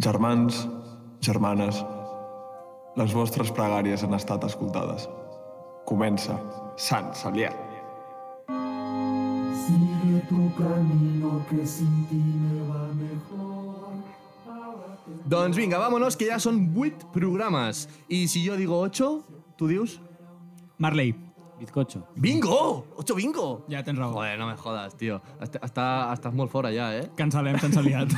Germans, germanes, les vostres pregàries han estat escoltades. Comença Sant Salià. Sigue tu camino que sin ti me va mejor. Ahora te Doncs vinga, vámonos, que ja són 8 programes. I si jo digo 8, tu dius... Marley, Bizcocho. Bingo! 8 bingo! ja tens raó. Joder, no me jodas, tio. Est està, estàs molt fora ja, eh? Cancelem sense aliat.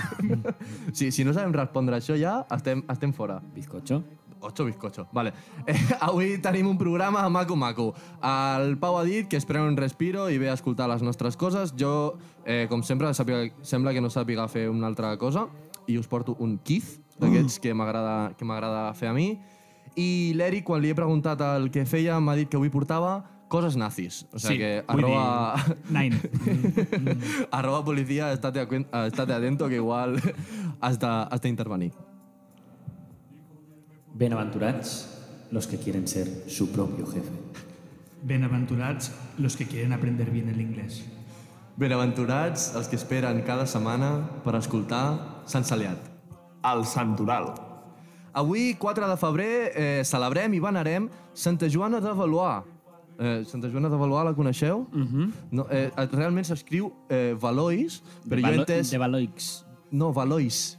Si, si no sabem respondre a això ja, estem, estem fora. Bizcocho. 8 bizcochos, vale. Eh, avui tenim un programa maco maco. El Pau ha dit que es pren un respiro i ve a escoltar les nostres coses. Jo, eh, com sempre, sàpiga, sembla que no sàpiga fer una altra cosa i us porto un Keith, d'aquests que m'agrada que m'agrada fer a mi. I l'Eric, quan li he preguntat el que feia, m'ha dit que avui portava coses nazis. O sigui que vull dir, arroba, Nine. arroba policia, estate, acuen- eh, estate atento que igual has de- has d'intervenir. Bienaventurados los que quieren ser su propio jefe. Benaventurats los que quieren aprender bien el inglés. Benaventurats els que esperen cada setmana per escoltar Sant Saliat. El Sant Oral. Avui, 4 de febrer, eh, celebrem i venerem Santa Joana de Valois. Eh, Santa Joana de Valois la coneixeu? Uh Mhm. -huh. no, eh, realment s'escriu eh, Valois, però jo he Valo- entès... De Mm. Valoix. No, Valois.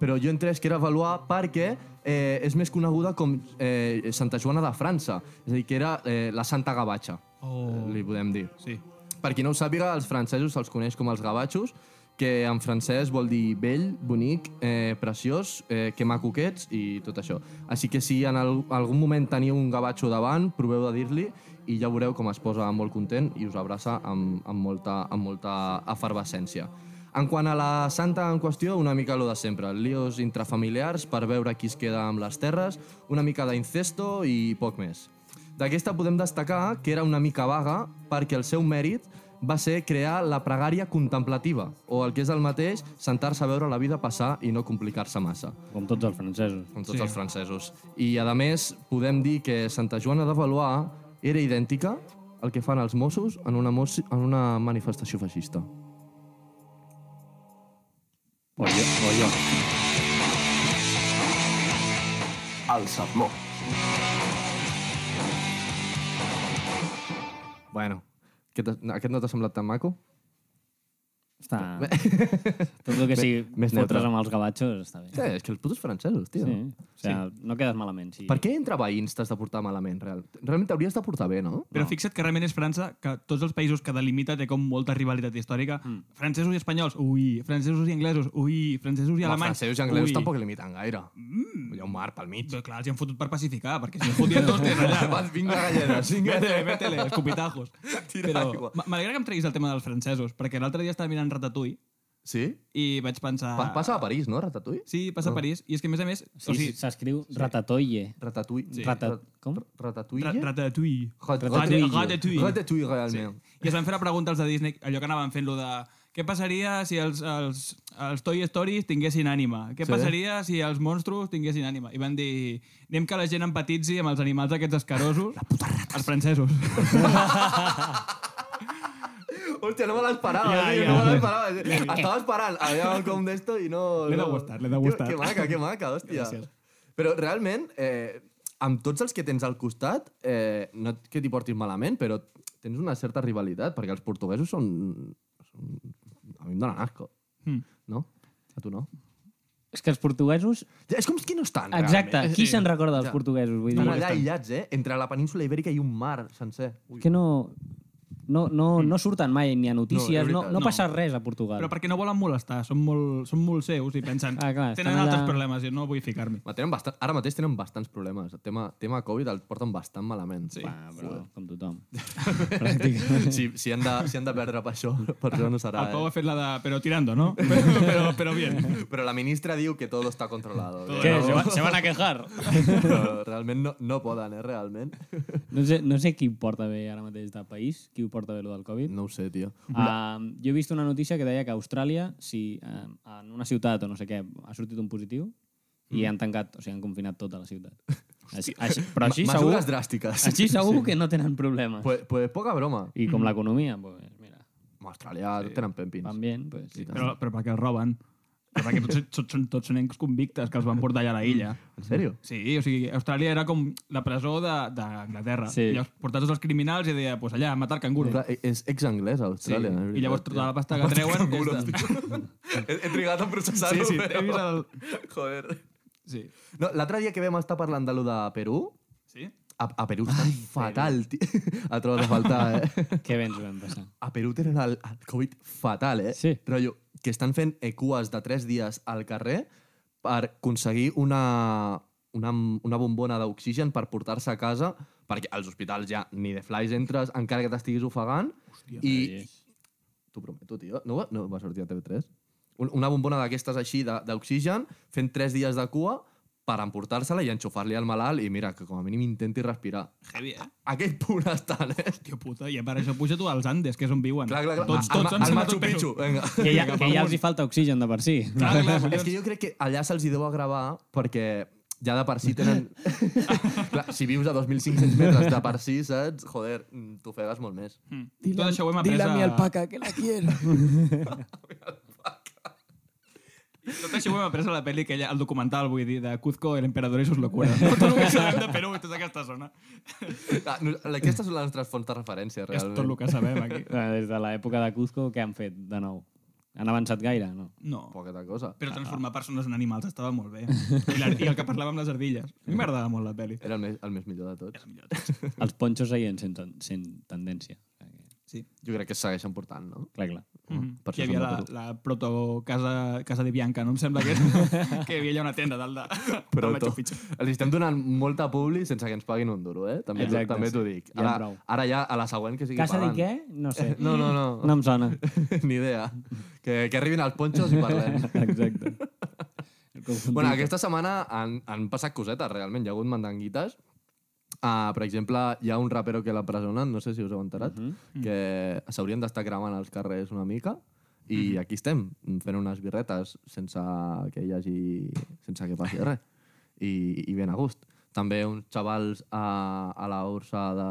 Però jo he entès que era Valois perquè eh, és més coneguda com eh, Santa Joana de França. És a dir, que era eh, la Santa Gavatxa, Oh. eh, li podem dir. Sí. Per qui no ho sàpiga, els francesos se'ls coneix com els gavatxos, que en francès vol dir vell, bonic, eh, preciós, eh, que maco que ets i tot això. Així que si en al algun moment teniu un gavatxo davant, proveu de dir-li i ja veureu com es posa molt content i us abraça amb, amb, molta, amb molta efervescència. En quant a la santa en qüestió, una mica lo de sempre. Líos intrafamiliars per veure qui es queda amb les terres, una mica d'incesto i poc més. D'aquesta podem destacar que era una mica vaga perquè el seu mèrit va ser crear la pregària contemplativa, o el que és el mateix, sentar-se a veure la vida passar i no complicar-se massa, Com tots els francesos. com tots sí. els francesos. I, a més, podem dir que Santa Joana de Valois era idèntica al que fan els Mossos en una, mos en una manifestació feixista. O jo, o jo. El Sermó. Bueno, aquest, aquest no t'ha semblat tan maco? Està... Tot el que sigui més més neutre. fotre's amb els gavatxos està bé. Sí, és que els putos francesos, tio. Sí. Sí. O sigui, no quedes malament. Sí. Per què entre veïns t'has de portar malament? Real? Realment t'hauries de portar bé, no? Però fixa't que realment és França, que tots els països que delimita té com molta rivalitat històrica. Mm. Francesos i espanyols, ui. Francesos i anglesos, ui. Francesos i Home, alemanys, francesos i anglesos tampoc limiten gaire. Mm. Hi ha un mar pel mig. Però clar, els hi han fotut per pacificar, perquè si no fotien tots tenen allà. Vas, vinga, galleres, vinga. Vete, vete, escupitajos. Tira Però aigua. m- m'alegra que em treguis el tema dels francesos, perquè l'altre dia estava mirant Ratatouille Sí? i vaig pensar... Pa passa a París, no, Ratatouille? Ah. Sí, passa a París, i és que a més a més... Sí, sí, S'escriu Ratatouille. Ratatouille. Sí. Rata... Com? Ratatouille? Ra- Ratatouille. Ratatouille. Ratatouille. Ratatouille, realment. Sí. I es van fer la pregunta als de Disney, allò que anaven fent-lo de... Què passaria si els, els, els Toy Stories tinguessin ànima? Què Sí. sí. passaria si els monstros tinguessin ànima? I van dir... Anem que la gent empatitzi amb els animals aquests escarosos. La puta rata. Els francesos. Hòstia, no me l'esperava, Ja, tio, ja. no me l'esperava. Estava esperant, havia un com d'esto i no... L'he de no. gustar, l'he de Tio, gustar. Que maca, que maca, hòstia. Gràcies. Però realment, eh, amb tots els que tens al costat, eh, no que t'hi portis malament, però tens una certa rivalitat, perquè els portuguesos són... són... A mi em donen asco, Hmm. Mm. no? A tu no? És que els portuguesos... Ja, és com que no estan, Exacte, realment. qui se'n recorda dels Ja. portuguesos? Vull Estan dir, allà aïllats, eh? Entre la península ibèrica i un mar sencer. Ui. que no... No, no, no surten mai ni a Mm. No, notícies, és no, veritat. no, No. passa res a Portugal. Però perquè no volen molestar, són molt, són molt seus i pensen... Ah, clar, estan tenen altres allà- problemes, jo no vull ficar-m'hi. Ma, Tenen bastant, ara mateix tenen bastants problemes. El tema, tema Covid el porten bastant malament. Sí. Ah, però, com tothom. si, si, han de, si han de perdre per això, per això no serà. El Pau Eh? ha fet la de... Però tirando, no? Però, però, però bien. Però la ministra diu que todo está controlado. Què? Se, va, se van a quejar? Però realment no, no poden, eh, realment. No sé, no sé qui ho porta bé ara mateix del país, qui ho porta bé, lo del Covid. No ho sé, tio. Um, jo he vist una notícia que deia que a Austràlia, si um, en una ciutat o no sé què, ha sortit un positiu i han tancat, o sigui, han confinat tota la ciutat. Així, així, però així Ma- segur, Mesures dràstiques. així segur que no tenen problemes. Pues, pues poca broma. I com l'economia, pues, mira, Austràlia sí. tenen pempins. van bien, pues, sí. Però, però perquè els roben. Però perquè tots, tots, són, tots són ex convictes que els van portar allà a la illa. En sèrio? Sí, o sigui, Austràlia era com la presó de- d'Anglaterra. Sí. I llavors portar tots els criminals i deia, pues allà, a matar cangurs. Clar, és ex-anglès, Sí. Austràlia. de veritat, I llavors tio. tota la pasta que treuen... és de- he, he trigat a processar-ho, Sí, sí, he però... vist el... Joder. Sí. No, L'altre dia que vam estar parlant de lo de Perú, Sí? a, a Perú estan fatal, tio. Ha trobat a faltar, eh? Què bé ens ho vam passar. A Perú tenen el, el Covid fatal, eh? Sí. Rotllo, que estan fent eh, cues de 3 dies al carrer per aconseguir una, una, una bombona d'oxigen per portar-se a casa, perquè als hospitals ja ni de flies entres, encara que t'estiguis ofegant, Hòstia, i... Yes. T'ho prometo, tio. No, va- no va sortir a TV3? Un- Una bombona d'aquestes així de- d'oxigen, fent 3 dies de cua per emportar-se-la i enxufar-li al malalt i mira, que com a mínim intenti respirar. Heavy, eh? A aquell punt estan, eh? Hòstia puta, i per això puja tu als Andes, que és on viuen. Clar, clar, clar. Tots, Al- tots al- han al semblat Machu un Picchu, peso. vinga. Que ja, Vinga, que ja vamos. els hi falta oxigen de per si. Clar, clar, És que collons. jo crec que allà se'ls hi deu a gravar perquè ja de per si tenen... Clar, si vius a 2.500 metres de per si, saps? Joder, mm, t'ofegues molt més. Mm. Tot això ho hem Dile après a mi a... alpaca que la quiero. Tot això ho hem après a la pel·li, que ella, el documental, vull dir, de Cuzco, el emperador i sus locuras. No? Tot el que sabem de Perú i tota aquesta zona. Ah, no, Aquestes són les nostres fonts de referència, És realment. tot el que sabem aquí. Des de l'època de Cuzco, què han fet de nou? Han avançat gaire, no? No. Poqueta cosa. Però transformar persones en animals estava molt bé. I, la, i el que parlava amb les ardilles. A mi m'agradava molt la pel·li. Era el més, el més millor de tots. Era millor. tot. Els ponxos seguien sent, sent tendència. Sí. Jo crec que es segueixen portant, no? Clar, clar. Mm Per -hmm. Hi això havia som la, de Perú. la proto casa, casa de Bianca, no em sembla que era, que hi havia allà una tenda dalt de, Però del Machu to- Picchu. els estem donant molta publi sense que ens paguin un duro, eh? També, Exacte, també sí. t'ho dic. Ja en Ara, prou. ara ja, a la següent que sigui Casa de pagant. què? No sé. No, no, no. No em sona. Ni idea. Que, que arribin els ponxos i parlem. Exacte. bueno, aquesta setmana han, han passat cosetes, realment. Hi ha hagut mandanguites. Uh, per exemple, hi ha un rapero que l'apresonen, no sé si us heu enterat, que s'haurien d'estar cremant als carrers una mica. I aquí estem, fent unes birretes sense que hi hagi... sense que passi res. I, i ben a gust. També uns xavals a, a la ursa de,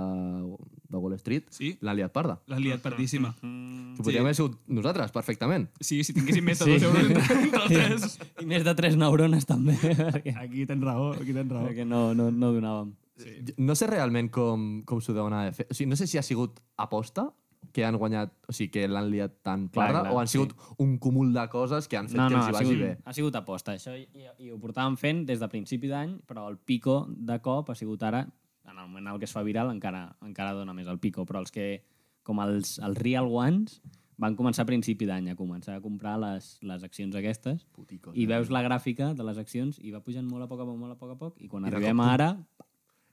de Wall Street Sí. l'han liat parda. L'has liat perdíssima. Que podríem haver sigut nosaltres, perfectament. Sí, si tinguéssim més de Sí. dos euros entre, entre els tres... I més de tres neurones, també, perquè, Aquí tens raó, aquí tens raó. perquè no, no, no donàvem. No sé realment com, com s'ho deuen haver fet. O sigui, no sé si ha sigut aposta que han guanyat, o sigui, que l'han liat tan Clar, parda, clar, o han sigut un cúmul de coses que han fet No, que no, els ha hi vagi sigut, bé. ha sigut aposta. Això i, i ho portàvem fent des de principi d'any, però el pico de cop ha sigut ara, en el moment en què es fa viral, encara, encara dona més el pico, però els que, com els, els real ones, van començar a principi d'any a començar a comprar les, les accions aquestes Puticos, i eh? Doncs veus la gràfica de les accions i va pujant molt a poc a poc, molt a poc a poc i quan I de arribem cop, a ara...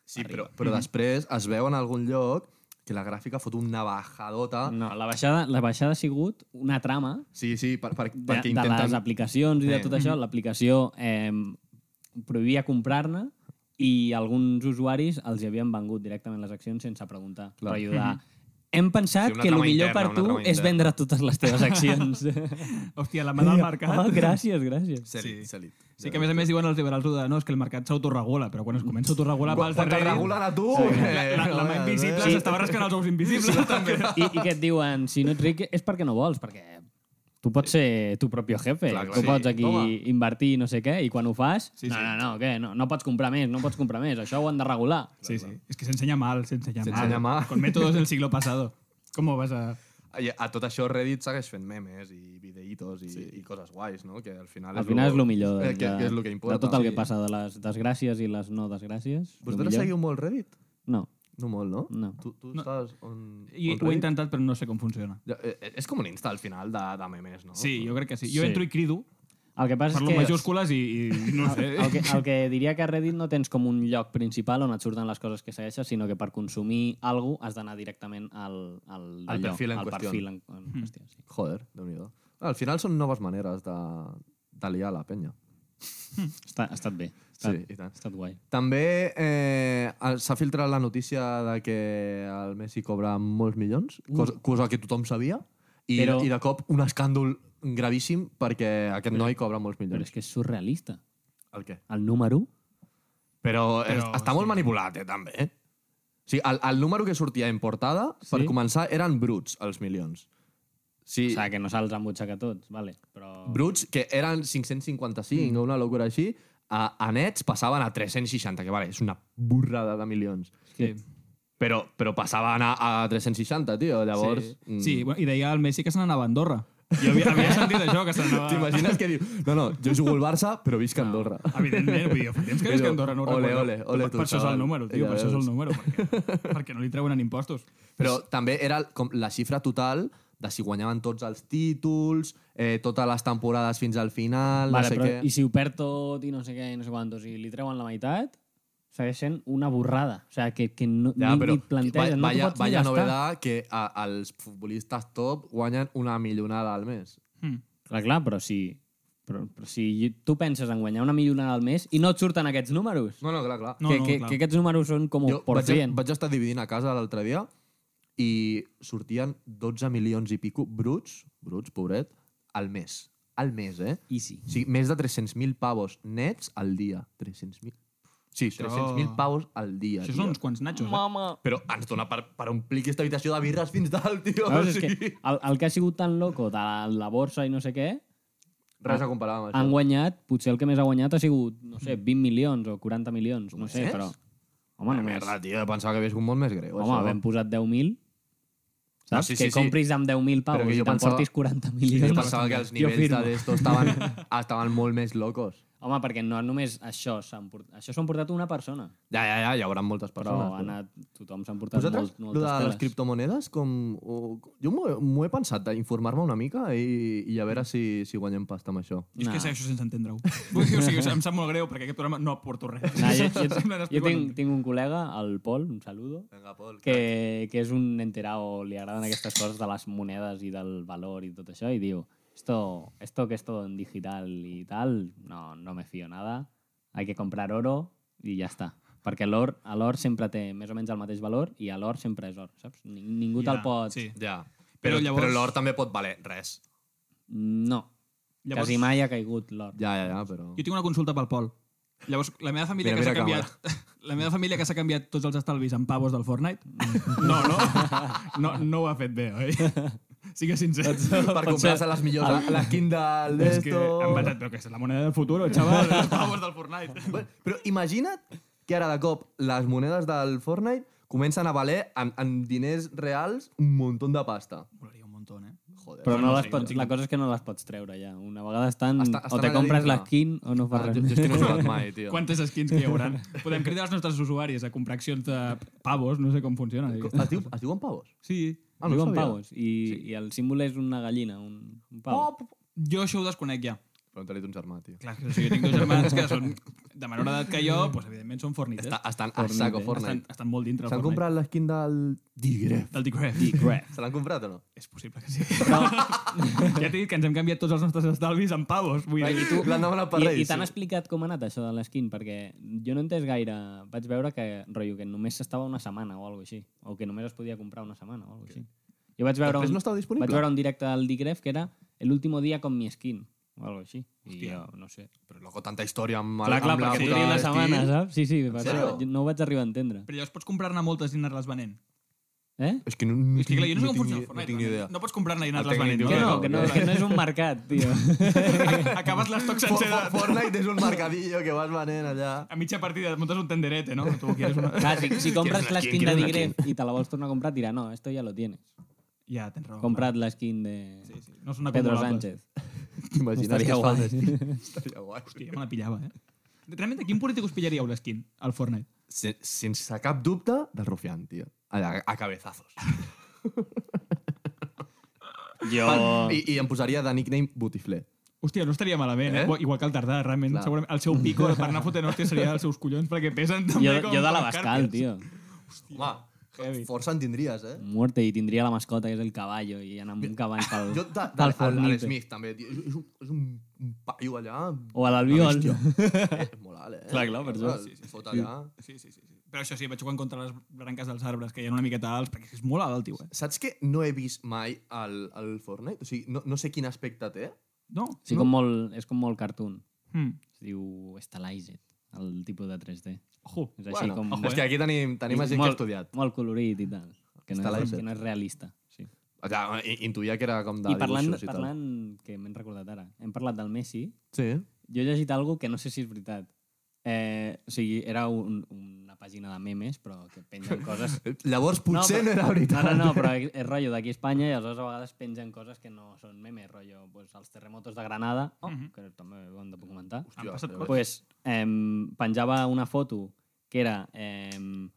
Sí, però, però mm. després es veu en algun lloc que la gràfica fot una Ah. bajadota. No, la baixada, la baixada ha sigut una trama Sí, sí, per, per, de, perquè de les intenten... aplicacions i de Sí. tot Mm-hmm. això, l'aplicació eh, prohibia comprar-ne i alguns usuaris els hi havien vengut directament les accions sense preguntar. Clar. Per ajudar. Hem pensat Mm-hmm. Sí, una que el trama millor interna, per una tu trama és interna. vendre totes les teves accions. Hòstia, la mà del mercat. oh, gràcies, gràcies. Celit, Sí. celit. Sí que a més a més diuen els liberals de no, és que el mercat s'autoregula, però quan es comença a autoregular pels Quan te'l darrere... regulen a tu... eh, La, la, la mà invisible s'estava rascant els ous invisibles, també. I, I que et diuen, si no ets ric és perquè no vols, perquè tu pots ser tu propi jefe, Clar, clar, clar, tu sí. pots aquí Toma. Toma. invertir no sé què, i quan ho fas, Sí, sí, no, sí. no, no, què, no, no pots comprar més, no pots comprar més, això ho han de regular. Sí, sí. És que s'ensenya mal, s'ensenya mal. S'ensenya mal. Con métodos del siglo pasado. Com ho vas a... I a tot això Reddit segueix fent memes i videitos i, sí. i coses guais, no? Que al final Al final és el millor de, eh, que, que és lo que importa. de tot el Sí. que passa, de les desgràcies i les no desgràcies. lo Vosaltres millor. seguiu molt Reddit? No. No molt, no? No. Tu, tu no. estàs on... I on ho he Reddit? intentat, però no sé com funciona. Ja, eh, És com un Insta al final de, de memes, no? Sí, jo crec que sí. Jo Sí. entro i crido, El que passa parlo és en que... majúscules i, i no eh? sé. El que, el que diria que a Reddit no tens com un lloc principal on et surten les coses que segueixes, sinó que per consumir alguna cosa has d'anar directament al, al, Al d'allò, perfil en al qüestió. perfil en, en qüestió sí. Joder, déu nhi Al final són noves maneres de, de liar la penya. Està, ha estat bé. Ha estat, Sí, i tant. Ha estat guai. També eh, el- s'ha filtrat la notícia de que el Messi cobra molts milions, cosa, cosa que tothom sabia, i, Però... Però- i de cop un escàndol gravíssim perquè aquest noi cobra molts Però milions. és que és surrealista. El què? El número 1? Però, Però Però, està molt manipulat, eh, també. eh? O sigui, el, el número que sortia en portada, sí? per Sí? començar, eren bruts, els milions. Sí, O sigui, que no se'ls embutxaca a tots, vale. Però... bruts, que eren 555 mm. o una locura així, a, a nets passaven a 360, que vale, és una burrada de milions. Sí. Però, però passaven a, a 360, tio, llavors... mm. sí. sí, bueno, i deia el Messi que se n'anava a Andorra. Jo havia, havia sentit això, que se n'anava... T'imagines que diu, no, no, jo jugo al Barça, però visc a Andorra. Evidentment, vull dir, fa temps que Però, és que Andorra no ho ole, recorda. ole, ole per, tu, per això és xaval. el número, tio, Ja per això és veus. el número. Perquè, perquè no li treuen impostos. Però també era com la xifra total de si guanyaven tots els títols, eh, totes les temporades fins al final, Vale, no sé però, què... I si ho perd tot i no sé què i no sé quantos i li treuen la meitat, segueix sent una borrada. O sigui, que, que no, ja, ni, ni et va- plantegen, no t'ho vaya, pots ni vaya gastar. novedad que a, els futbolistes top guanyen una milionada al mes. Mm. Clar, clar, però si, però, però si tu penses en guanyar una milionada al mes i no et surten aquests números, No, no, clar, clar. No, que, no, que, clar. que aquests números són com Jo por vaig, cien. vaig estar dividint a casa l'altre dia i sortien 12 milions i pico bruts, bruts, pobret, al mes. Al mes, eh? Easy. O sigui, més de 300.000 pavos nets al dia. 300.000. Sí, 300.000 pavos al dia. Això tio. són uns quants nachos, eh? Mama. Però ens dona per, per omplir aquesta habitació de birres fins dalt, tio. Veus, o és sigui, que el, el que ha sigut tan loco de la, la borsa i no sé què, Res a comparar amb això. han guanyat, potser el que més ha guanyat ha sigut, no sé, 20 milions o 40 milions, no sé, Només? però... Home, Una només. merda, tio. Pensava que hagués sigut molt més greu. Home, Ah, això. ben posat 10.000, saps? No, sí, sí, que sí. compris amb 10.000 Però pavos que i jo te'n pensava- portis 40 Jo milions. pensava que els Jo nivells firmo. de d'esto estaven, estaven molt més locos. Home, perquè no només això s'han portat... Això s'han portat una persona, Ja, ja, ja, hi haurà moltes però persones. ha anat... Tothom s'han portat Vosaltres, molt, molt, moltes de les teles. criptomonedes, com... O, jo m'ho he- m'ho he pensat, d'informar-me una mica i, i a veure si, si guanyem pasta amb això. Jo és Nah. que segueixo sense entendre-ho. Vull dir, O sigui, em sap molt greu perquè aquest programa no aporto res. Nah, jo, jo, Simplement jo explico tinc, tinc un col·lega, el Pol, un saludo, Vinga, Pol. que, que és un enterado, li agraden aquestes coses de les monedes i del valor i tot això, i diu, esto, esto que es todo en digital i tal, no, no me fío nada, hay que comprar oro i ja està. Perquè l'or a l'or sempre té més o menys el mateix valor i a l'or sempre és or, saps? Ni- Ningú te'l Ja, pot... sí. Ja. Però llavors- també pot valer res. No. Llavors- Llavors... Quasi mai ha caigut l'or. Ja, ja, ja, però... Jo tinc una consulta pel Pol. Llavors, la meva família Mira, que s'ha mira canviat... La meva família que s'ha canviat tots els estalvis en pavos del Fortnite? No, no. No, no ho ha fet bé, oi? Sigue sincer. per comprar-se les millors, la, la Kindle, És que d'esto... em vaig a... Però que és la moneda del futur, xaval. Els pavos del Fortnite. Bueno, però imagina't que ara de cop les monedes del Fortnite comencen a valer en, en diners reals un muntó de pasta. Molaria un montón, eh? Joder. Però No, no, no, les sí, pots, sí. la cosa és que no les pots treure ja. Una vegada estan... Està- o estan te allà compres dintre. l'esquin o no fas Ah, res. jo, jo és que no he jugat mai, tio. Quantes skins que hi haurà? Podem cridar els nostres usuaris a comprar accions de pavos, no sé com funciona. Es, diu, es diuen pavos? Sí. Ah, no ho Diuen sabia. pavos. I, sí. I el símbol és una gallina, un, un pavo. Oh, jo això ho desconec ja. Pregunta-li a ton germà, tio. Clar, que, o sigui, tinc dos germans que són de menor edat que jo, doncs, evidentment són fornites. Està, estan a saco estan, Fortnite. eh? estan molt dintre del S'han Fortnite. comprat l'esquin del Digre. Del Dick Ref. Crap. Se l'han comprat o no? És possible que sí. ja t'he dit que ens hem canviat tots els nostres estalvis en pavos. Vull dir, tu l'han demanat per I, Reis. i t'han explicat com ha anat això de l'esquin, perquè jo no he entès gaire... Vaig veure que, rotllo, que només s'estava una setmana o alguna així, o que només es podia comprar una setmana o alguna així. Jo vaig veure, Després un, no estava disponible? vaig veure un directe del Digref que era el último dia con mi skin o alguna així. I Hòstia. jo, no sé. Però loco, tanta història amb, Clar, clar, perquè puta duria una estil. setmana, saps? Sí, sí, va, sèrio? jo no ho vaig arribar a entendre. però llavors pots comprar-ne moltes i anar-les venent. Eh? És que no, no, És que clar, jo no sé no com tinc, funciona ni- el Fortnite. no tinc ni idea. No pots comprar-ne i El anar-les tècnic venent. diu Que no, no, que no, que no és un mercat, tio. A- Acabes l'estoc Fo- sencer fo- de... Fortnite és un mercadillo que vas venent allà. A mitja partida et muntes un tenderete, no? Tu quieres una... Clar, si, si compres ¿Quieres una l'esquin skin? de ¿Quieres una Digref i te la vols tornar a comprar, et dirà, no, esto ya lo tienes. Ja, tens raó. Comprat l'esquin de... Sí, sí. No són Pedro acumulables. Sánchez. T'imagines Estaria que es fa guai. l'esquin? Estaria guai. Hòstia, ja me la pillava, eh? Realment, a quin polític us pillaríeu l'esquin, al Fortnite? Se- sense cap dubte, del Rufián, tio. Allà, a cabezazos. Jo... I, I em posaria de nickname Butifler. Hòstia, no estaria malament, eh? Eh? Igual- Igual que el Tardà, realment. Clar. Segurament el seu pico per anar fotent hòstia seria els seus collons, perquè pesen també Jo, com... jo de com l'Abascal, cartes. tio. Home, Heavy. força en tindries, eh? Muerte, i tindria la mascota, que és el cavallo, i anar amb un cavall pel, Jo, de, de, a pel fornit. l'Smith, també, tio. És, un- és un, un paio allà... O a l'Albiol. Hòstia. Eh, és molt alt, eh? Clar, clar, per això. Sí, sí, fot allà... Sí, sí, sí, sí. Però això sí, vaig jugant contra les branques dels arbres, que hi ha una miqueta alts, perquè és molt alt, el tio, eh? Saps que no he vist mai el, el Fortnite? O sigui, no, no sé quin aspecte té. No? Sí, no? com molt, és com molt cartoon. Hmm. Es diu Stylized, el tipus de 3D. Ojo. És així com... eh? ojo, eh. és que aquí tenim, tenim gent molt, que ha estudiat. Molt colorit i tal. Que no, és, Stylized. que no és realista. Sí. O sigui, i- intuïa que era com de I parlant, dibuixos i parlant que m'he recordat ara, hem parlat del Messi, tal. Sí. jo he llegit algo que no sé si és veritat. Eh, o sigui, era un, una pàgina de memes, però que pengen coses... Llavors potser no, però- era veritat. No, no, no, però és rotllo d'aquí a Espanya i aleshores a vegades pengen coses que no són memes, rotllo pues, els terremotos de Granada, oh, Mhm. que també ho hem de comentar. Han passat però- coses. pues, em, penjava una foto que era... Em,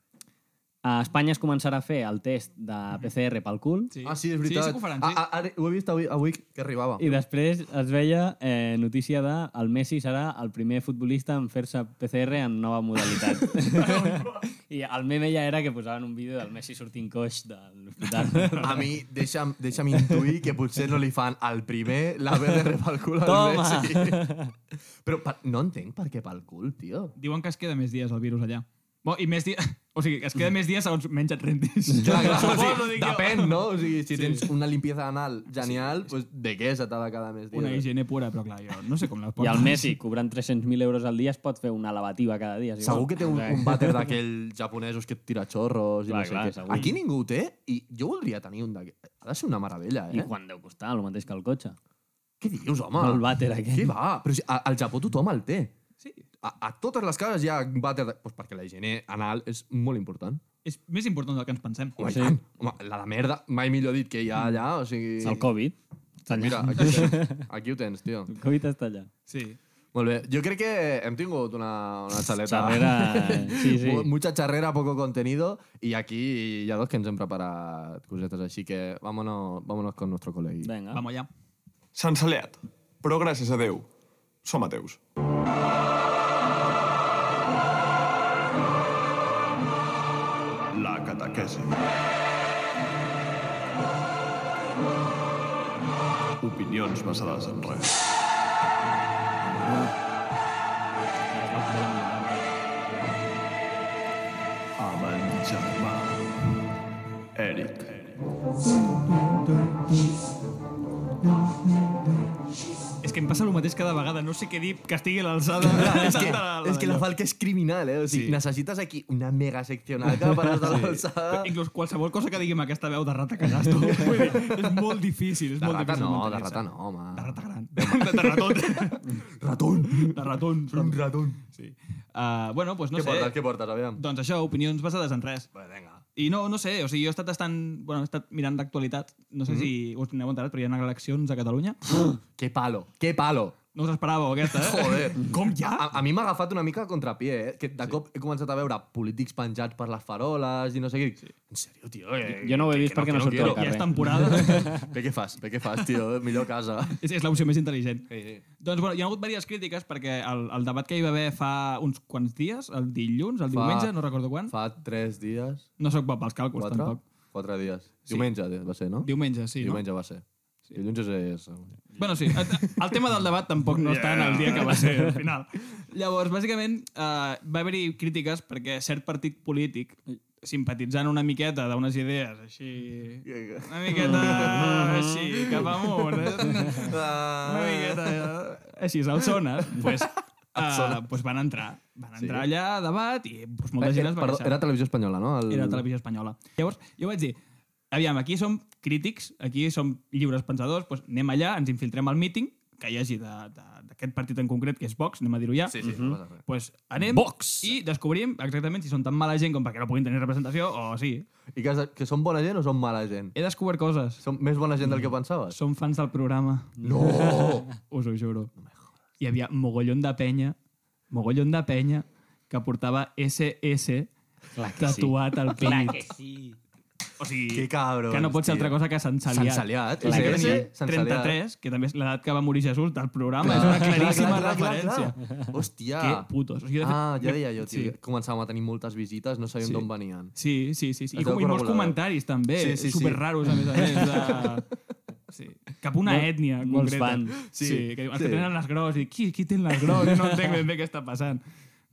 a Espanya es començarà a fer el test de PCR pel cul Sí. Ah, sí, és veritat. Sí, sí que ho faran, Ah, sí. ah, ara, ho he vist avui, avui que arribava. i després es veia eh, notícia de el Messi serà el primer futbolista en fer-se PCR en nova modalitat. I el meme ja era que posaven un vídeo del Messi sortint coix de l'hospital. A mi, deixa'm, deixa'm intuir que potser no li fan al primer la BDR pel cul al Toma! Messi. Però per, no entenc per què pel cul, tio. Diuen que es queda més dies el virus allà. Bo, i més dies... O sigui, es Mm. queda més dies segons menys et rentis. Clar, clar, o Suposo, sigui, dic jo. depèn, no? O sigui, si tens una limpieza anal genial, pues, de què s'ha de cada mes? Una dia? higiene pura, però clar, jo no sé com la I porta. el Messi, cobrant 300.000 euros al dia, es pot fer una lavativa cada dia. si Segur vol. que té un, O sigui, un vàter d'aquells japonesos que et tira xorros i Clar, no sé clar, què. segur. Aquí ningú ho té i jo voldria tenir un d'aquests. Ha de ser una meravella, eh? I quan deu costar? El mateix que el cotxe. Què dius, home? El vàter aquest. Què va? Però si, a, al Japó tothom el té. Sí. A, a totes les cases hi ha vàter... De... Pues perquè la higiene anal és molt important. És més important del que ens pensem. Home, Sí. sí. home, la de merda, mai millor dit que hi ha allà, o sigui... El Covid. Està allà. Mira, eh, aquí, ho tens, aquí ho tens, tio. El Covid està allà. Sí. Molt bé, jo crec que hem tingut una, una xaleta... Xerrera, sí, sí. Mu- Mucha charrera, poco contenido, y aquí hi ha dos que ens hem preparat cosetes, així que vámonos, vámonos con nuestro colegui. Vinga. Vamos allà. S'han saleat, però gràcies a Déu, som ateus. La catequesi. Opinions basades en res. Amb en germà, Eric. És que em passa el mateix cada vegada. No sé què dir que estigui a l'alçada. És que, de- és que la falca és criminal, eh? O sigui, sí. necessites aquí una mega seccional que per estar sí. l'alçada... Inclús qualsevol cosa que diguem aquesta veu de rata que gasto. Vull dir, és molt difícil. És De molt rata difícil no, de mantenir-se. rata no, home. De rata gran. De, de ratot. Ratón. De ratón. Un ratón. Sí. Uh, bueno, doncs no Què sé. portes, què portes, aviam? Doncs això, opinions basades en res. Bé, vinga. I no, no sé, o sigui, jo he estat estant... Bueno, he estat mirant d'actualitat. No sé Mm-hmm. mm -hmm. si us n'heu enterat, però hi ha eleccions a Catalunya. Que palo, que palo. No us esperàveu, aquesta, eh? Joder. Com ja? A, a mi m'ha agafat una mica a contrapié, eh? Que de sí. cop he començat a veure polítics penjats per les faroles i no sé què. Sí. En sèrio, tio? Eh, Jo no ho he que- vist que perquè que no surto quiero. Ja al carrer. és temporada. Bé, què fas? Bé, què fas, tio? Millor a casa. és és l'opció més intel·ligent. Sí, sí. Doncs bueno, hi ha hagut diverses crítiques perquè el, el debat que hi va haver fa uns quants dies, el dilluns, el Fa- diumenge, no recordo quan. Fa tres dies, No sóc bo pels càlculs, quatre, tampoc. quatre dies. Diumenge va ser, no? Diumenge, sí, Diumenge va ser. Sí. Dilluns és... no? Bueno, sí. El, el tema del debat tampoc no yeah. està en el dia que va ser, al final. Llavors, bàsicament, eh, va haver-hi crítiques perquè cert partit polític, simpatitzant una miqueta d'unes idees així... Una miqueta així, cap amunt. eh? una miqueta eh, així, al sona, pues, uh, pues van entrar. Van entrar sí. allà a debat i pues, molta gent es va Eh, Perdó, queixar. era televisió espanyola, no? El... Era televisió espanyola. Llavors, jo vaig dir, aviam, aquí som crítics, aquí som lliures pensadors, doncs anem allà, ens infiltrem al míting, que hi hagi de- de- d'aquest partit en concret, que és Vox, anem a dir-ho ja. Sí, sí, no passa res. Pues anem Vox! i descobrim exactament si són tan mala gent com perquè no puguin tenir representació o sí. I que, has- que són bona gent o són mala gent? He descobert coses. Són més bona gent del que pensaves? Som fans del programa. No! Us ho juro. Hi havia mogollon de penya, mogollon de penya, que portava SS Clar que sí. tatuat al Clar pit. que sí. O sigui, Que cabrons, que no pot ser tio. altra cosa que Sant Saliat. Sant Saliat. O sigui, Clar que tenia sí. Sant Saliat. 33, que també és l'edat que va morir Jesús del programa. Ah, Clar. És una claríssima clar, clar, referència. Clar, clar, clar. Hòstia. Que putos. O sigui, de fet, ah, ja me- deia jo, tio. sí. Sí. Començàvem a tenir moltes visites, no sabíem Sí. sí. d'on venien. Sí, sí, sí. sí. I, Es veu com, I molts regular. comentaris, també. Sí, sí, Super raros, a més a més. De... Sí. Cap una Mol- ètnia molts concreta. fans. Sí, sí, Sí, que sí. diuen, els que tenen les gros. I qui, qui té les gros? Jo no entenc ben bé què està passant.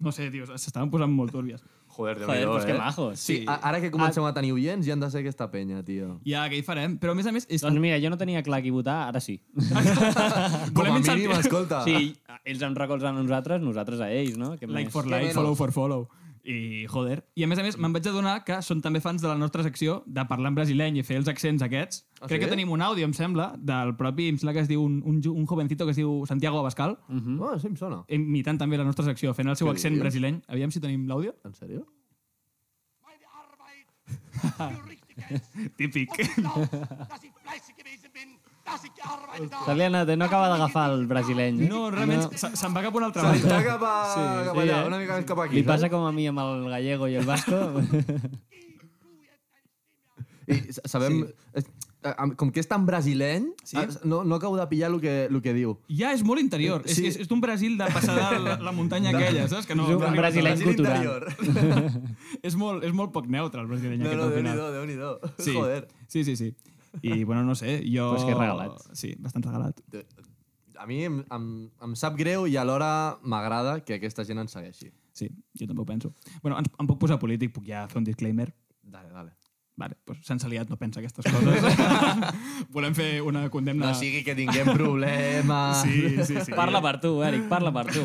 No sé, tios, s'estaven posant molt túrbies. Joder, déu Joder, pues que majos. Sí, Sí. a- ara que comencem a tenir oients, ja han de ser aquesta penya, tio. Ja, què hi farem? Però, a més a més... És... Doncs mira, jo no tenia clar qui votar, ara sí. Com a Volem mínim, incentivar- escolta. Sí, ells em recolzen a nosaltres, nosaltres a ells, no? Que Like for Què like, menys? follow for follow. I, joder. I a més a més, me'n vaig adonar que són també fans de la nostra secció de parlar en brasileny i fer els accents aquests. Ah, sí? Crec que tenim un àudio, em sembla, del propi, em sembla que es diu un, un, ju- un jovencito que es diu Santiago Abascal, Mm -hmm. Oh, sí, em sona. imitant també la nostra secció, fent el seu Què accent dius? brasileny. Aviam si tenim l'àudio. En sèrio? meine Arbeit für richtig hält. Típic. Und ich glaub, dass ich fleißig gewesen bin, dass ich gearbeitet Se li ha habe. anat, eh? no acaba d'agafar el brasileny. No, realment, no. se'n va cap a una altra Saltar banda. cap, a, sí, cap sí, allà, eh? una mica més cap aquí. Li passa saps? com a mi amb el gallego i el vasco. I sa- sabem... Sí. Com que és tan brasileny, sí. no, no acabo de pillar el que, el que diu. Ja és molt interior. Sí. Sí. És, és, és d'un Brasil de passar de la, la muntanya aquella, saps? Que no, És un no arriba a brasileny Brasil cultural. interior. tot. És molt, és molt poc neutre, el brasileny No, aquest no, al final. déu-n'hi-do, déu-n'hi-do. Sí. Joder. Sí, sí, sí. I, bueno, no sé, jo... Però és que regalat. Sí, bastant regalat. A mi em, em, em sap greu i alhora m'agrada que aquesta gent ens segueixi. Sí, jo també ho penso. Bueno, ens, em puc posar polític, puc ja fer un disclaimer? Dale, dale. Vale, doncs sense liat no pensa aquestes coses. Volem fer una condemna... No sigui que tinguem problemes. Sí, sí, sí. Parla per tu, Eric, parla per tu.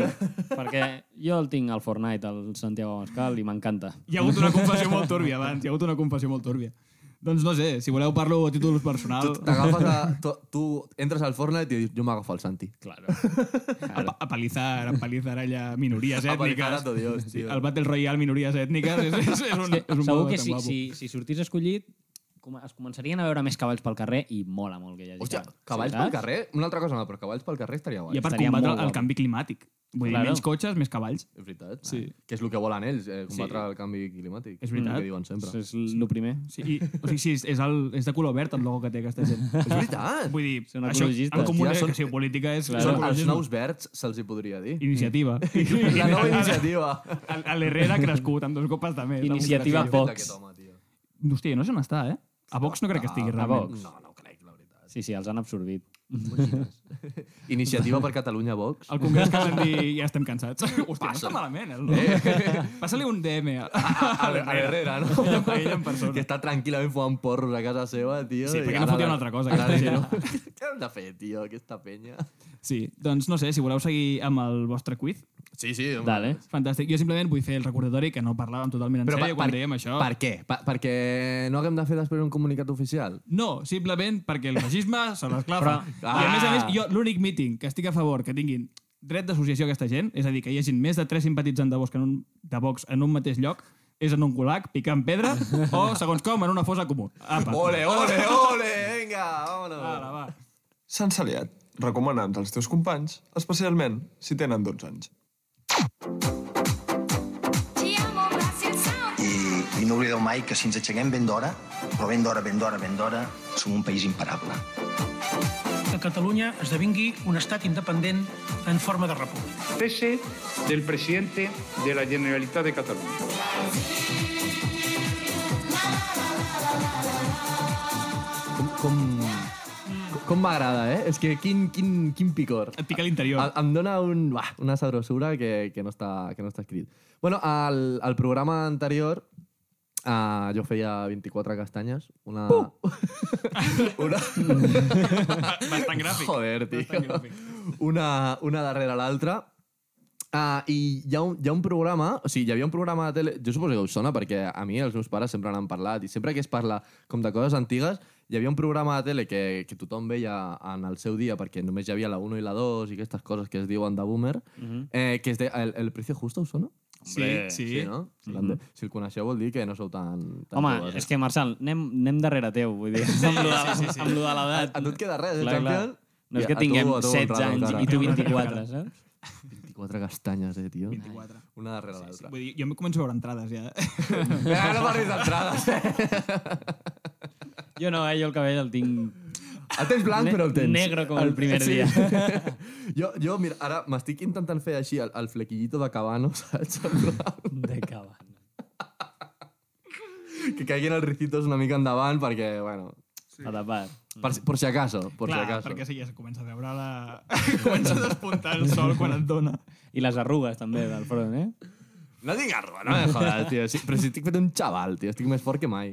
Perquè jo el tinc al Fortnite, el Santiago Mascal, i m'encanta. Hi ha hagut una confessió molt túrbia abans, hi ha hagut una confessió molt túrbia. Doncs no sé, si voleu parlo a títol personal. Tu t'agafes a... Tu, tu entres al Fortnite i dius, jo m'agafo al Santi. Claro. claro. A palizar, a palizar allà minories Apalizar a ètniques. tu, Dios, sí, tio. el Battle Royale minories ètniques és, és, és un, és un Segur mode que tan si, guapo. si, si sortís escollit, com- es començarien a veure més cavalls pel carrer i mola molt que hi hagi Hòstia, cavalls. cavalls Sí, pel saps? carrer? Una altra cosa no, però cavalls pel carrer estaria guai. I a part Estaria combatre molt el guapo. canvi climàtic. Vull dir, Claro. menys cotxes, més cavalls. És veritat. Ah, Sí. Que és el que volen ells, eh, combatre sí. el canvi climàtic. És veritat. El que diuen sempre. Això és el primer. Sí, i, o sigui, sí, és, és, el, és de color verd el logo que té aquesta gent. És veritat. Vull dir, Són això, ecologistes. en comú, Ja són- són... sí, política és... Clar, Clar, Són són els nous verds, se'ls hi podria dir. Iniciativa. La nova iniciativa. A a l'Herrera ha crescut amb dos copes de més. Què ha Iniciativa fet Fox. aquest home, tio? Ah, Hòstia, no sé on està, eh? A Vox no crec que estigui A realment. Vox. No, no ho crec, la veritat. Sí, sí, els han absorbit. Iniciativa per Catalunya Vox. Al Congrés que van dir ja estem cansats. Hòstia, no està malament, el eh? Passa-li un DM. A, A l'Herrera, no? ell en persona. Que està tranquil·lament fumant porros a casa seva, tio. Sí, i perquè no ara fotia la- una altra cosa, ara aquesta sí, gent. no? Què hem de fer, tio, aquesta penya? Sí, doncs no sé, si voleu seguir amb el vostre quiz, Sí, sí. home. Dale. fantàstic. Jo simplement vull fer el recordatori que no parlàvem totalment en sèrio quan dèiem això. Per què? Per, perquè no haguem de fer després un comunicat oficial? No, simplement perquè el feixisme se l'esclafa. Però- I a més a més, Ah. jo l'únic míting que estic a favor que tinguin dret d'associació a aquesta gent, és a dir, que hi hagin més de tres simpatitzants de Vox, en un, de Vox en un mateix lloc, és en un culac, picant pedra, o, segons com, en una fosa comú. Apa. Ole, ole, ole, vinga, vámonos. Ara, va. Sense aliat, recomana'ns als teus companys, especialment si tenen 12 anys. Te amo, Brasil Sound. I, i no oblideu mai que si ens aixequem ben d'hora, però ben d'hora, ben d'hora, ben d'hora, som un país imparable. que Catalunya esdevingui un estat independent en forma de república. cese del presidente de la Generalitat de Cataluña. Com... Com, com m'agrada, eh? És que quin, quin, quin picor. Et pica l'interior. Em, em dona un, bah, una sabrosura que, que, no està, que no està escrit. Bueno, al, al programa anterior uh, jo feia 24 castanyes. Una... Uh! una... Bastant gràfic. Joder, tio. Bastant gràfic. Una, una darrere l'altra. Uh, I hi ha, un, hi ha un programa, o sigui, hi havia un programa de tele... Jo suposo que us sona, perquè a mi els meus pares sempre n'han parlat, i sempre que es parla com de coses antigues, hi havia un programa de tele que, que tothom veia en el seu dia, perquè només hi havia la 1 i la 2 i aquestes coses que es diuen de boomer, Mhm. eh, que es de... El, el Precio Justo, us sona? Sí, sí. Sí, no? Mm -hmm. Si el coneixeu vol dir que no sou tan... tan Mhm. Home, joves, eh? és que, Marçal, anem, anem darrere teu, vull dir, amb lo de, amb lo de l'edat. A tu et queda res, eh, Clar, clar. campion? No és I que a tu- tinguem a tu un 16 raro, anys cara. i tu 24, saps? 24 castanyes, eh, tio. 24. Una darrere l'altra. Vull dir, jo em començo a veure entrades, ja. Vinga, no parlis d'entrades. eh? Jo no, eh? Jo el cabell el tinc... El tens blanc, Ne- però el tens. negro com el primer dia. jo, jo, mira, ara m'estic intentant fer així el, el flequillito de cabano, saps? En plan, De cabana. que caiguin els ricitos una mica endavant perquè, bueno... Sí. A tapar. Per, si- por si acaso, por Clar, si acaso. perquè sí, ja se comença a veure la... comença a despuntar el sol quan et dona. I les arrugues, també, del front, eh? No tinc arba, no me jodas, tio. Sí, però si estic fet un xaval, tio. Estic més fort que mai.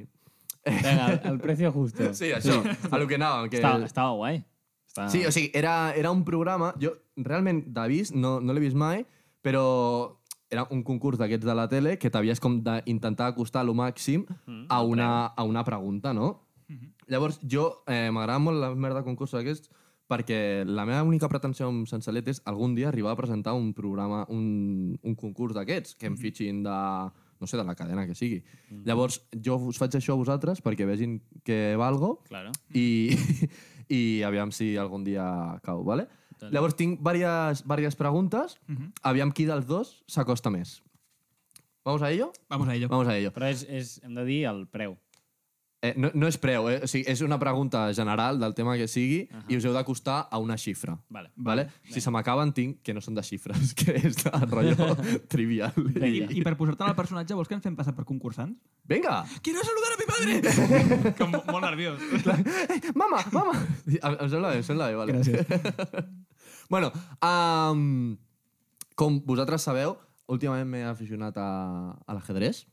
Vinga, el, el precio justo. Sí, això. A lo que anàvem. Que... Estava, estava guai. Estava... Sí, o sigui, era, era un programa... Jo realment d'avís no, no l'he vist mai, però era un concurs d'aquests de la tele que t'havies com d'intentar acostar lo màxim a una, a una pregunta, no? Llavors, jo eh, m'agrada molt la merda de concursos aquests perquè la meva única pretensió amb Sensalet és algun dia arribar a presentar un programa, un, un concurs d'aquests, que em fitxin de, no sé, de la cadena que sigui. Llavors, jo us faig això a vosaltres perquè vegin que valgo Claro. i, i aviam si algun dia cau, ¿vale? Llavors tinc diverses, diverses preguntes, aviam qui dels dos s'acosta més. Vamos a ello? Vamos a ello. Vamos a ello. Però és, és, hem de dir el preu. Eh, no, no és preu, eh? o sigui, és una pregunta general del tema que sigui uh -huh. i us heu d'acostar a una xifra. Vale. vale? Si se m'acaben, tinc que no són de xifres, que és de rotllo trivial. I, I per posar-te en el personatge, vols que ens fem passar per concursants? Vinga! Quiero saludar a mi padre! Com molt nerviós. Mama, mama! Ah, Em, em sembla bé, em sembla bé, vale. Gràcies. bueno, um, com vosaltres sabeu, últimament m'he aficionat a, a l'ajedrez.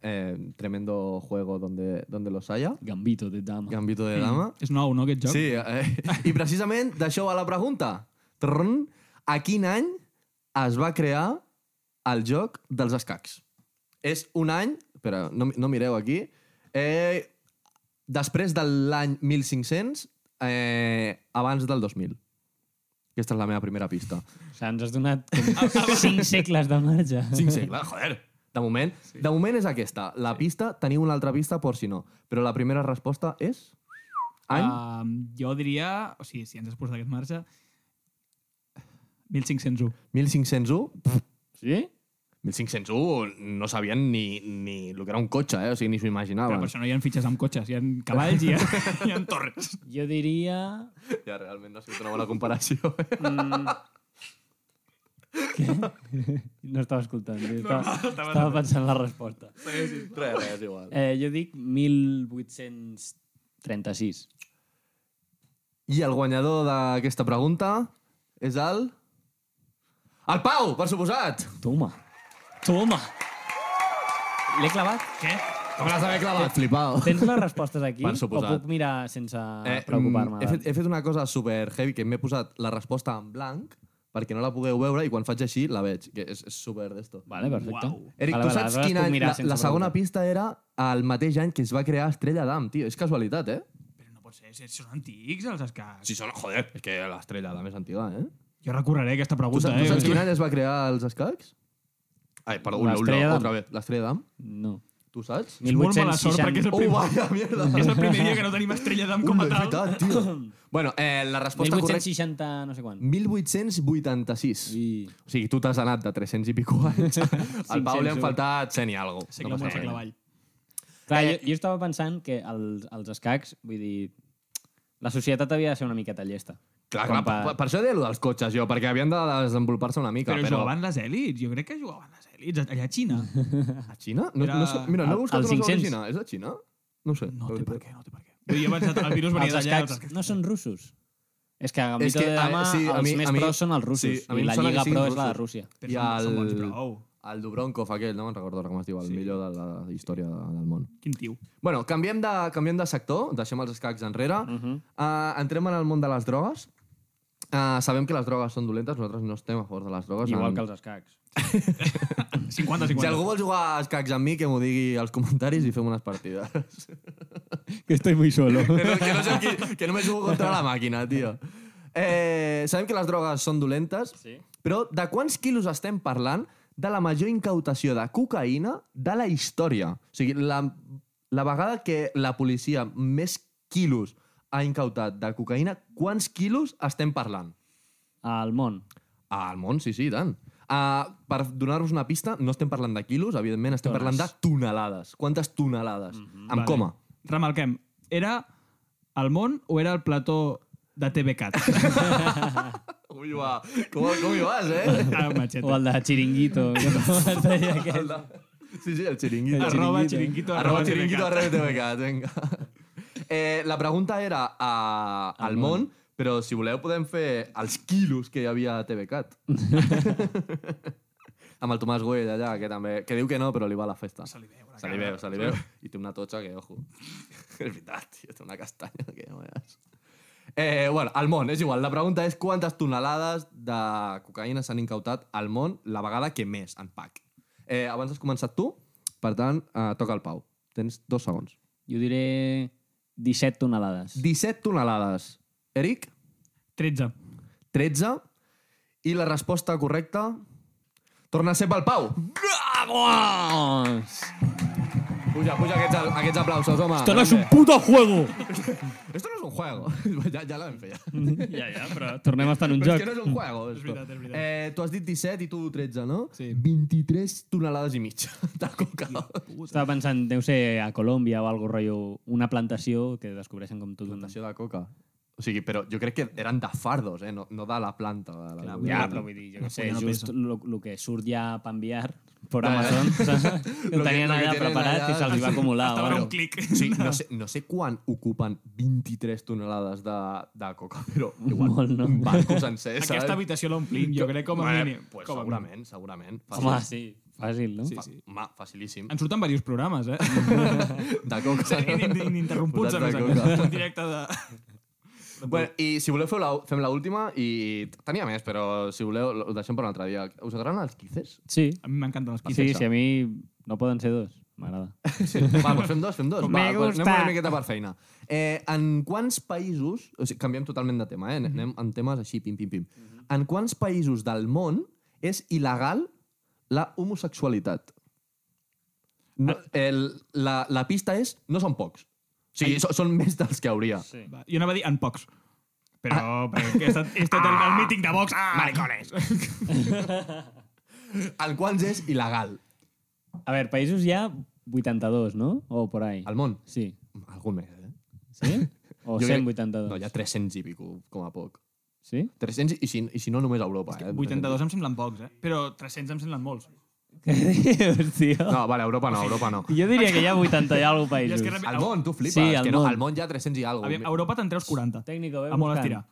Eh, tremendo juego donde, donde los haya. Gambito de dama. Gambito de dama. És nou, no, aquest joc? Sí, eh, i precisament d'això va la pregunta. Trrn, a quin any es va crear el joc dels escacs? És un any... Espera, no, no mireu aquí. Eh, després de l'any 1500, eh, abans del 2000. Aquesta és la meva primera pista. O sigui, ens has donat com 5 segles de marge. Cinc segles, joder! De moment, sí. de moment és aquesta. La sí. pista, teniu una altra pista per si no. Però la primera resposta és... Any? Uh, jo diria... O sigui, si ens has posat aquest marge... 1501. Ah, 1501, Sí? 1501 no sabien ni, ni el que era un cotxe, eh? o sigui, ni s'ho Però imaginaven. per això no hi ha fitxes amb cotxes, hi ha cavalls i hi ha, hi ha torres. Jo diria... Ja, realment no ha sigut una bona comparació. Eh? Mm... Què? No estava escoltant, jo estava, estava, estava pensant la resposta. res, res, és igual. Eh, jo dic 1836. I el guanyador d'aquesta pregunta és el... El Pau, per suposat! Toma. Toma. L'he clavat? Què? Com l'has d'haver clavat, flipau. Tens les respostes aquí? Per suposat. O puc mirar sense eh, preocupar-me? mm, He, fet, he fet una cosa super heavy, que m'he posat la resposta en blanc perquè no la pugueu veure i quan faig així la veig, que és, és super d'esto. Vale, perfecte. Uau. Eric, tu Vale, vale, saps aleshores quin puc any... mirar La, sense la segona preguntar. pista era el mateix any que es va crear Estrella d'Am, tio. És casualitat, eh? Però no pot ser, si són antics els escacs. Sí, són, joder, és que l'estrella, la més antiga, eh? Jo recorreré aquesta Tu pregunta, saps, tu saps eh? quin any es va crear els escacs? Ai, perdó, La ula, ula, Estrella d'Am. otra vez. L'estrella d'Am, No. tu saps? És molt mala sort perquè és el, Oh, primer, vaya mierda! és el primer dia que no tenim estrella d'am com Ula, a és tal. veritat, tio. Bueno, eh, la resposta correcta... 1860 no sé quan. 1886. I... O sigui, tu t'has anat de 300 i pico anys. Al Pau eh? li han faltat 100 i algo. Segle amunt, segle avall. Clar, Eh. jo, jo estava pensant que els, els escacs, vull dir, la societat havia de ser una miqueta llesta. Clar, Com clar, per, per això deia allò dels cotxes, jo, perquè havien de desenvolupar-se una mica. Però, Però, jugaven les èlits, jo crec que jugaven les èlits allà a Xina. A Xina? No, Era- no sé, mira, no Al- he buscat al una cosa de 500. Xina. És de Xina? No ho sé. No la té per veritat. què, no té per què. Jo he pensat, el virus venia Els d'allà. escacs no són russos. És que a Gambito És que, de a- Dama sí, a els mi- més a mi- pros són els russos sí, a mi i em la sona que Lliga siguin Pro és la de russos. Rússia. Però I són- són bons, el, prou. el Dubronkov aquell, no me'n recordo ara com es diu, el millor de la història del món. Quin tio. Bueno, canviem de, canviem de sector, deixem els escacs enrere, uh Mhm. -huh. uh, entrem en el món de les drogues. Uh, sabem que les drogues són dolentes, nosaltres no estem a favor de les drogues. Igual en- que els escacs. 50-50. Si algú vol jugar a escacs amb mi, que m'ho digui als comentaris i fem unes partides. Que estoy muy solo. que, no, que, no sé qui, que només jugo contra la màquina, tio. Eh, sabem que les drogues són dolentes, sí. però de quants quilos estem parlant de la major incautació de cocaïna de la història? O sigui, la, la vegada que la policia més quilos ha incautat de cocaïna, quants quilos estem parlant? Al món. Al món, sí, sí, i tant. Uh, per donar-vos una pista, no estem parlant de quilos, evidentment, estem Tones. parlant de tonelades. Quantes tonelades? Mm -hmm. Amb Vale. vale. coma. Remarquem, era el món o era el plató de TVCAT? Ui, va. Com, com hi vas, eh? Ah, machete. O el de Chiringuito. que no es deia aquest. Sí, sí, el chiringuito. El Arroba chiringuito. chiringuito. Arroba chiringuito arroba TVCAT, venga. Eh, la pregunta era a, al món, però si voleu podem fer els quilos que hi havia a TVCAT. Amb el Tomàs Güell allà, que també... Que diu que no, però li va a la festa. Se li veu. Se li veu, se li veu. I té una totxa que, ojo. és veritat, tio, té una castanya que no veus. Eh, bueno, al món, és igual. La pregunta és quantes tonelades de cocaïna s'han incautat al món la vegada que més en pac. Eh, abans has començat tu, per tant, eh, toca el Pau. Tens dos segons. Jo diré 17 tonelades. 17 tonelades. Eric? 13. 13. I la resposta correcta... Torna a ser pel Pau. Vamos! Puja, puja aquests, aquests aplausos, home. Grande. puto juego! Esto no es un juego. ja, ja l'hem fet, ja. Ja, ja, però... Tornem a estar en un Però joc. és que no és un juego. És esto. veritat, és veritat. Eh, tu has dit 17 i tu 13, no? Sí. 23 tonelades i mitja de coca. Estava pensant, deu ser a Colòmbia o algo rotllo, una plantació que descobreixen com tot un... Plantació de coca. O sigui, però jo crec que eren de fardos, eh? No, no de la planta. De la Ja, però vull dir, jo què sé, Una just peça. el que surt ja per enviar per Amazon, saps? Lo Ho que- tenien lo que allà tienen preparat allà- i se'ls hi va acumular. Estava bueno. un clic. Sí, no sé, no sé quan ocupen 23 tonelades de, de coca, però igual Molt, no? un banco sencer, saps? Aquesta habitació l'omplim, jo crec, com a Bé, mínim. Pues, com a segurament, mínim. segurament. Home, sí, fàcil, no? Fa- Home, facilíssim. En surten diversos programes, eh? De coca. Serien in- ininterromputs, a Posats més a de més. coca. En directe de... Bueno, I si voleu feu la, fem l'última i tenia més, però si voleu ho deixem per un altre dia. Us agraden els quizzes? Sí, A mi m'encanten les sí, quizzes. sí, a mi no poden ser dos. M'agrada. Sí. Va, doncs fem dos, fem dos. Va, Me doncs anem gusta. una miqueta per feina. Eh, en quants països... O sigui, canviem totalment de tema, eh? Anem en temes així, pim, pim, pim. En quants països del món és il·legal la homosexualitat? No, el, la, la pista és... No són pocs. O sigui, so, són més dels que hauria. Sí. Ah. Va, Jo anava a dir en pocs. Però, perquè he estat, he estat al al míting de Vox. Ah, maricones. En quants és il·legal? A veure, països hi ha 82, no? O por ahí. Al món? Sí. Algun més, eh? Sí? O Jo crec- 182. No, hi ha 300 i pico, com a poc. Sí? 300 i si, i si no, només a Europa. Eh? 82 em semblen pocs, eh? Però 300 em semblen molts. Què dius, tio? No, vale, Europa no, Europa no. Jo diria que hi ha 80 i alguna I és països. que realment- Al món, tu flipes. Sí, al que no, món. al món hi ha 300 i alguna Aviam, a Europa te'n treus 40. Técnico, ve A molt buscant. estirar.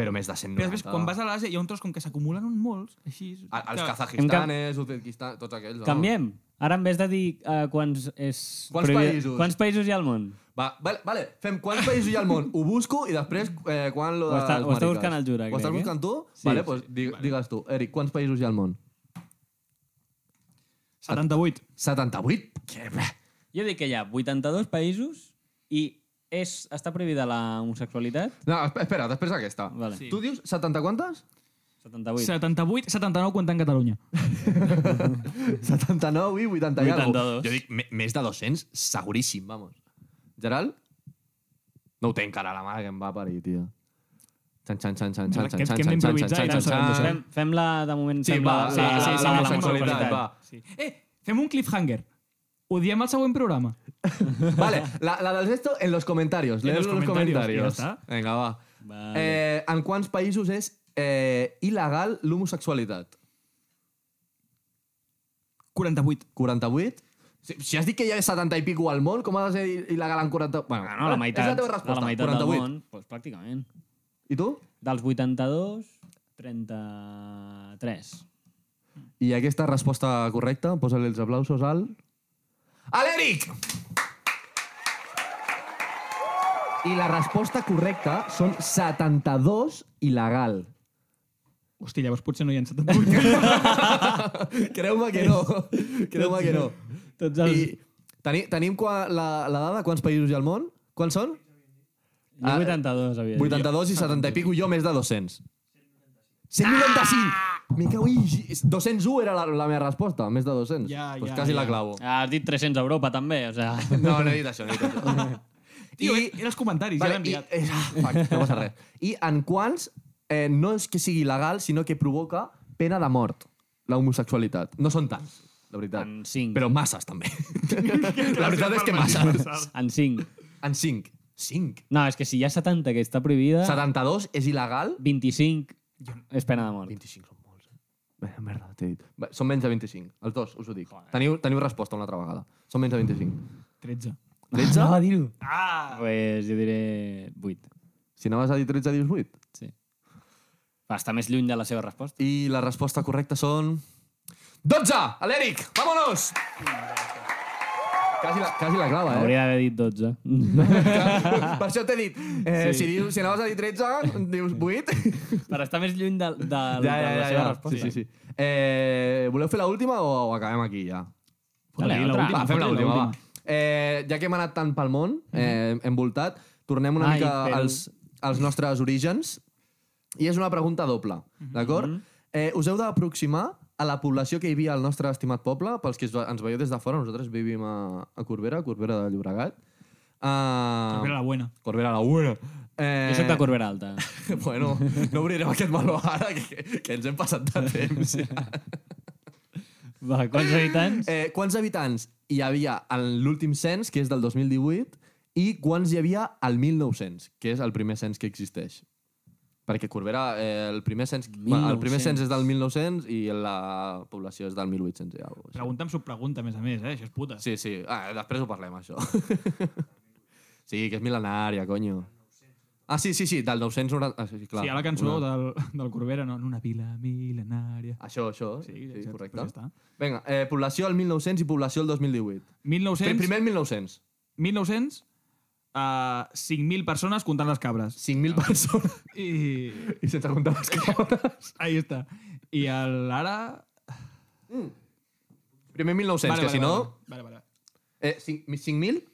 Però més de 190. Però després, quan vas a l'Àsia, hi ha un tros com que s'acumulen uns molts, així... a, als que- kazajistanes, Uzbekistan, tots aquells. no? Canviem. Ara en vez de dir eh, quants és... Quants països? Quants països hi ha al món? Va, vale, vale, fem quants països hi ha al món, ho busco i després eh, quan lo Ho està- dels ho està maricas. buscant el Jura, Ho estàs crec, eh? buscant tu? Sí, vale, sí, doncs dig digues tu. Eric, quants països hi ha al món? 78. 78? Que bé. Jo dic que hi ha 82 països i és, està prohibida la homosexualitat. No, esp- espera, després aquesta. Vale. Tu dius 70 quantes? 78. 78, 79 comptant Catalunya. 79 i 80 i alguna 82. Jo dic me- més de 200, seguríssim, vamos. Gerald? No ho té encara la mare que em va parir, tio. Xan, xan, xan, xan, xan, Ara, xan, xan, que- que hem xan, xan, d'improvisar i xan, tal, xan, sabem xan. Fem, fem-la de moment... Sí, fem va, la, sí, la, sí, sí, la, la, la la homosexualitat, homosexualitat. va. Sí. Eh, fem un cliffhanger. Ho diem al següent programa. Vale, la, la del sexto en los comentarios. Leer los los, comentarios, comentarios. y ya está. Vinga, va. Vale. Eh, en quants països és eh, il·legal l'homosexualitat? 48. 48? Si, si has dit que hi ha 70 i pico al món, com ha de ser il·legal en 40... Bueno, Ah, no, la meitat, És la teva resposta, de la meitat 48. del món, doncs pràcticament. I tu? Dels 82, 33. I aquesta resposta correcta, posa-li els aplausos al... A l'Eric! I la resposta correcta són 72 il·legal. Hòstia, llavors potser no hi ha 78. Creu-me que no. Creu-me que no. Tots els... I teni, tenim qua, la, la dada de quants països hi ha al món? Quants són? I... Ah, Jo 82, havia dit. 82 i 70 i pico, jo més de 200. 195! Ah! Me cago en... gi- 201 era la, la meva resposta, més de 200. Ja, pues ja, quasi ja. la clavo. Ah, has dit 300 a Europa, també, o sigui... No, no he dit això, no he dit això. Tio, I... eren els comentaris, vale, ja l'he i, enviat. eh, ah, fuck, no passa res. I en quants eh, no és que sigui il·legal, sinó que provoca pena de mort, la homosexualitat. No són tants, la veritat. En cinc. Però masses, també. la veritat és que masses. En 5. En 5. 5. No, és que si hi ha 70 que està Ah. prohibida, 72 és il·legal? 25 és pena de mort. 25 són molts, eh? Bé, merda, t'he dit. Bé, són menys de 25. Els dos, us ho dic. Teniu, teniu resposta una altra vegada. Són menys de 25. 13. 13? Anava a dir-ho. Ah! Pues jo diré 8. Si anaves a dir 13, dius 8. Sí. Va estar més lluny de la seva resposta. I la resposta correcta són... 12! A l'Eric! Vámonos! Quasi la, quasi la clava, eh? Hauria d'haver dit 12. Per això t'he dit, eh, sí. si, dius, si anaves a dir 13, dius 8. per estar més lluny de, de, de, ja, ja, de la ja, seva ja. resposta. Sí, sí, sí. Eh, voleu fer l'última o, o acabem aquí ja? Dale, Fotem-li otra. l'última, Va, fem Fotem l'última, va. l'última. Eh, ja que hem anat tant pel món, eh, envoltat, tornem una Ai, mica però- als, als nostres orígens. I és una pregunta doble, d'acord? Eh, us heu d'aproximar a la població que hi havia al nostre estimat poble, pels que es- ens veieu des de fora, nosaltres vivim a, a Corbera, a Corbera de Llobregat. Uh, Corbera la buena. Corbera la buena. Eh, Jo soc de Corbera Alta. bueno, no obrirem aquest meló ara, que, que ens hem passat de temps. Ja. Va, quants habitants? Eh, quants habitants hi havia en l'últim cens, que és del 2018, i quants hi havia al 1900, que és el primer cens que existeix? Perquè Corbera, eh, el, primer cens, bueno, el primer cens és del 1900 i la població és del 1800 i alguna cosa. Pregunta amb subpregunta, a més a més, eh? Això és puta. Sí, sí. Ah, després ho parlem, això. sí, que és mil·lenària, conyo. Ah, sí, sí, sí, del 990... Ah, sí, clar. sí, a la cançó Una- del, del Corbera, no? En una vila mil·lenària. Això, això. Sí, Sí, exacte, correcte. però ja està. Vinga, eh, població al 1900 i població al 2018. 1900... Primer el 1900. 1900, uh, 5.000 persones comptant les cabres. 5.000 persones. I... I sense comptar les cabres. Ahí està. I el, ara... Primer 1900, vale, que vale, si no... Vale, vale. Eh, cinc- 5.000?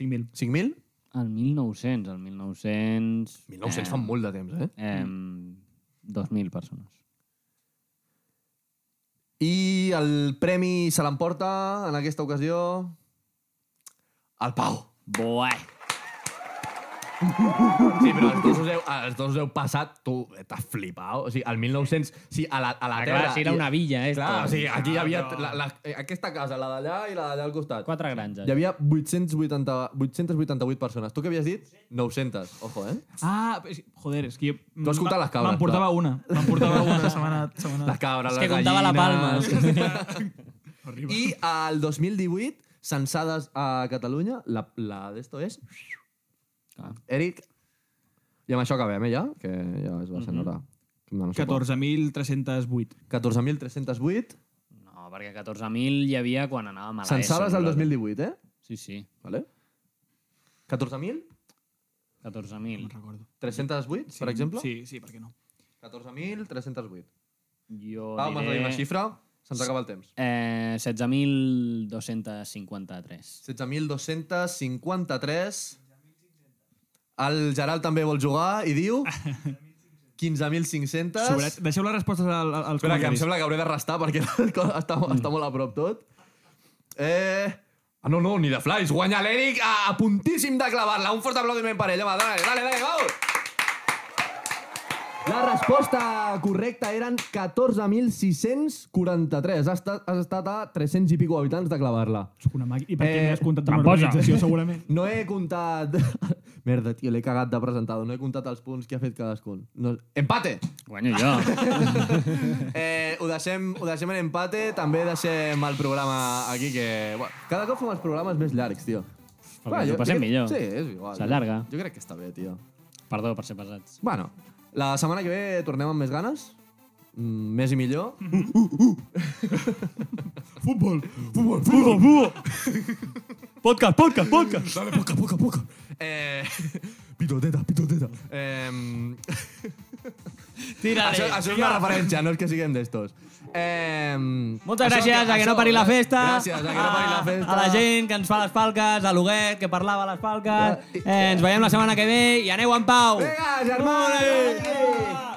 5.000. 5.000? El 1900, el 1900... 1900 fa molt de temps, eh? Eh, 2.000 persones. I el premi se l'emporta, en aquesta ocasió... El Pau. Bué! Sí, però els dos us heu, els dos us heu passat, tu, t'has flipat. O sigui, el 1900... Sí, a la, a la Ah, Terra... clar, si era i- una villa, eh, esto. Clar, o sigui, aquí hi havia la, la, eh, aquesta casa, la d'allà i la d'allà al costat. Quatre granges. Hi havia 880, 888 persones. Tu què havies dit? 900. Ojo, eh? Ah, és- joder, és que jo... Tu has comptat les cabres, Me'n portava clar. una. Me'n portava una setmana... setmana. La cabra, És les que comptava la palma. gallines... Arriba. I al 2018, censades a Catalunya, la, la d'esto és... Ah. Eric. I amb això acabem, eh, ja? Que ja es va sent hora. No, no sé quan. 14.308. 14.308, No, perquè 14.000 hi havia quan anava mal. censades al 2018, eh? Sí, sí, Vale? 14.308, 14.000. No recordo. per exemple? Sí, sí, per què no? 14.308. Jo Pau, m'has de dir diré... una xifra? Se'ns acaba el temps. Eh, 16.253. 16.253. El Gerald també vol jugar i diu... 15.500. Sobre... Deixeu les respostes al, al- als Espera, que em Mm. comentaris. sembla que hauré de restar perquè està, està molt a prop tot. Eh... Ah, no, no, ni de flies. Guanya l'Eric a, a puntíssim de clavar-la. Un fort aplaudiment per ell, home. Dale, dale, dale, vamos! La resposta correcta eren 14.643. Has, estat- has estat a 300 i pico habitants de clavar-la. Sóc una màquina. I per què Eh, eh, m'has comptat una tramposa. organització, segurament? No he comptat... Merda, tio, l'he cagat de presentador. No he comptat els punts que ha fet cadascun. No... Empate! Guanyo jo. Eh, ho, deixem, ho deixem en empate, també deixem el programa aquí, que... Bueno, cada cop fem els programes més llargs, tio. ens ho passem jo- millor. Sí, és igual. S'allarga. Jo crec que està bé, tio. Perdó per ser pesats. Bueno, la setmana que ve tornem amb més ganes, mm, més i millor. Futbol! Futbol, futbol, futbol! Podcast, podcast, podcast! Dale, poca, poca, poca. Eh, pitoteta, pitoteta. Eh, Tira-li! això, això és una referència, no és que siguem d'estos. Eh, Moltes gràcies a que no pari la festa. Ah, Gràcies, a que no pari la festa. A la gent que ens fa les falques, a l'Huguet, que parlava les falques. Ja, i- Eh, ens veiem la setmana que ve i aneu en pau! Vinga, germans! Vinga!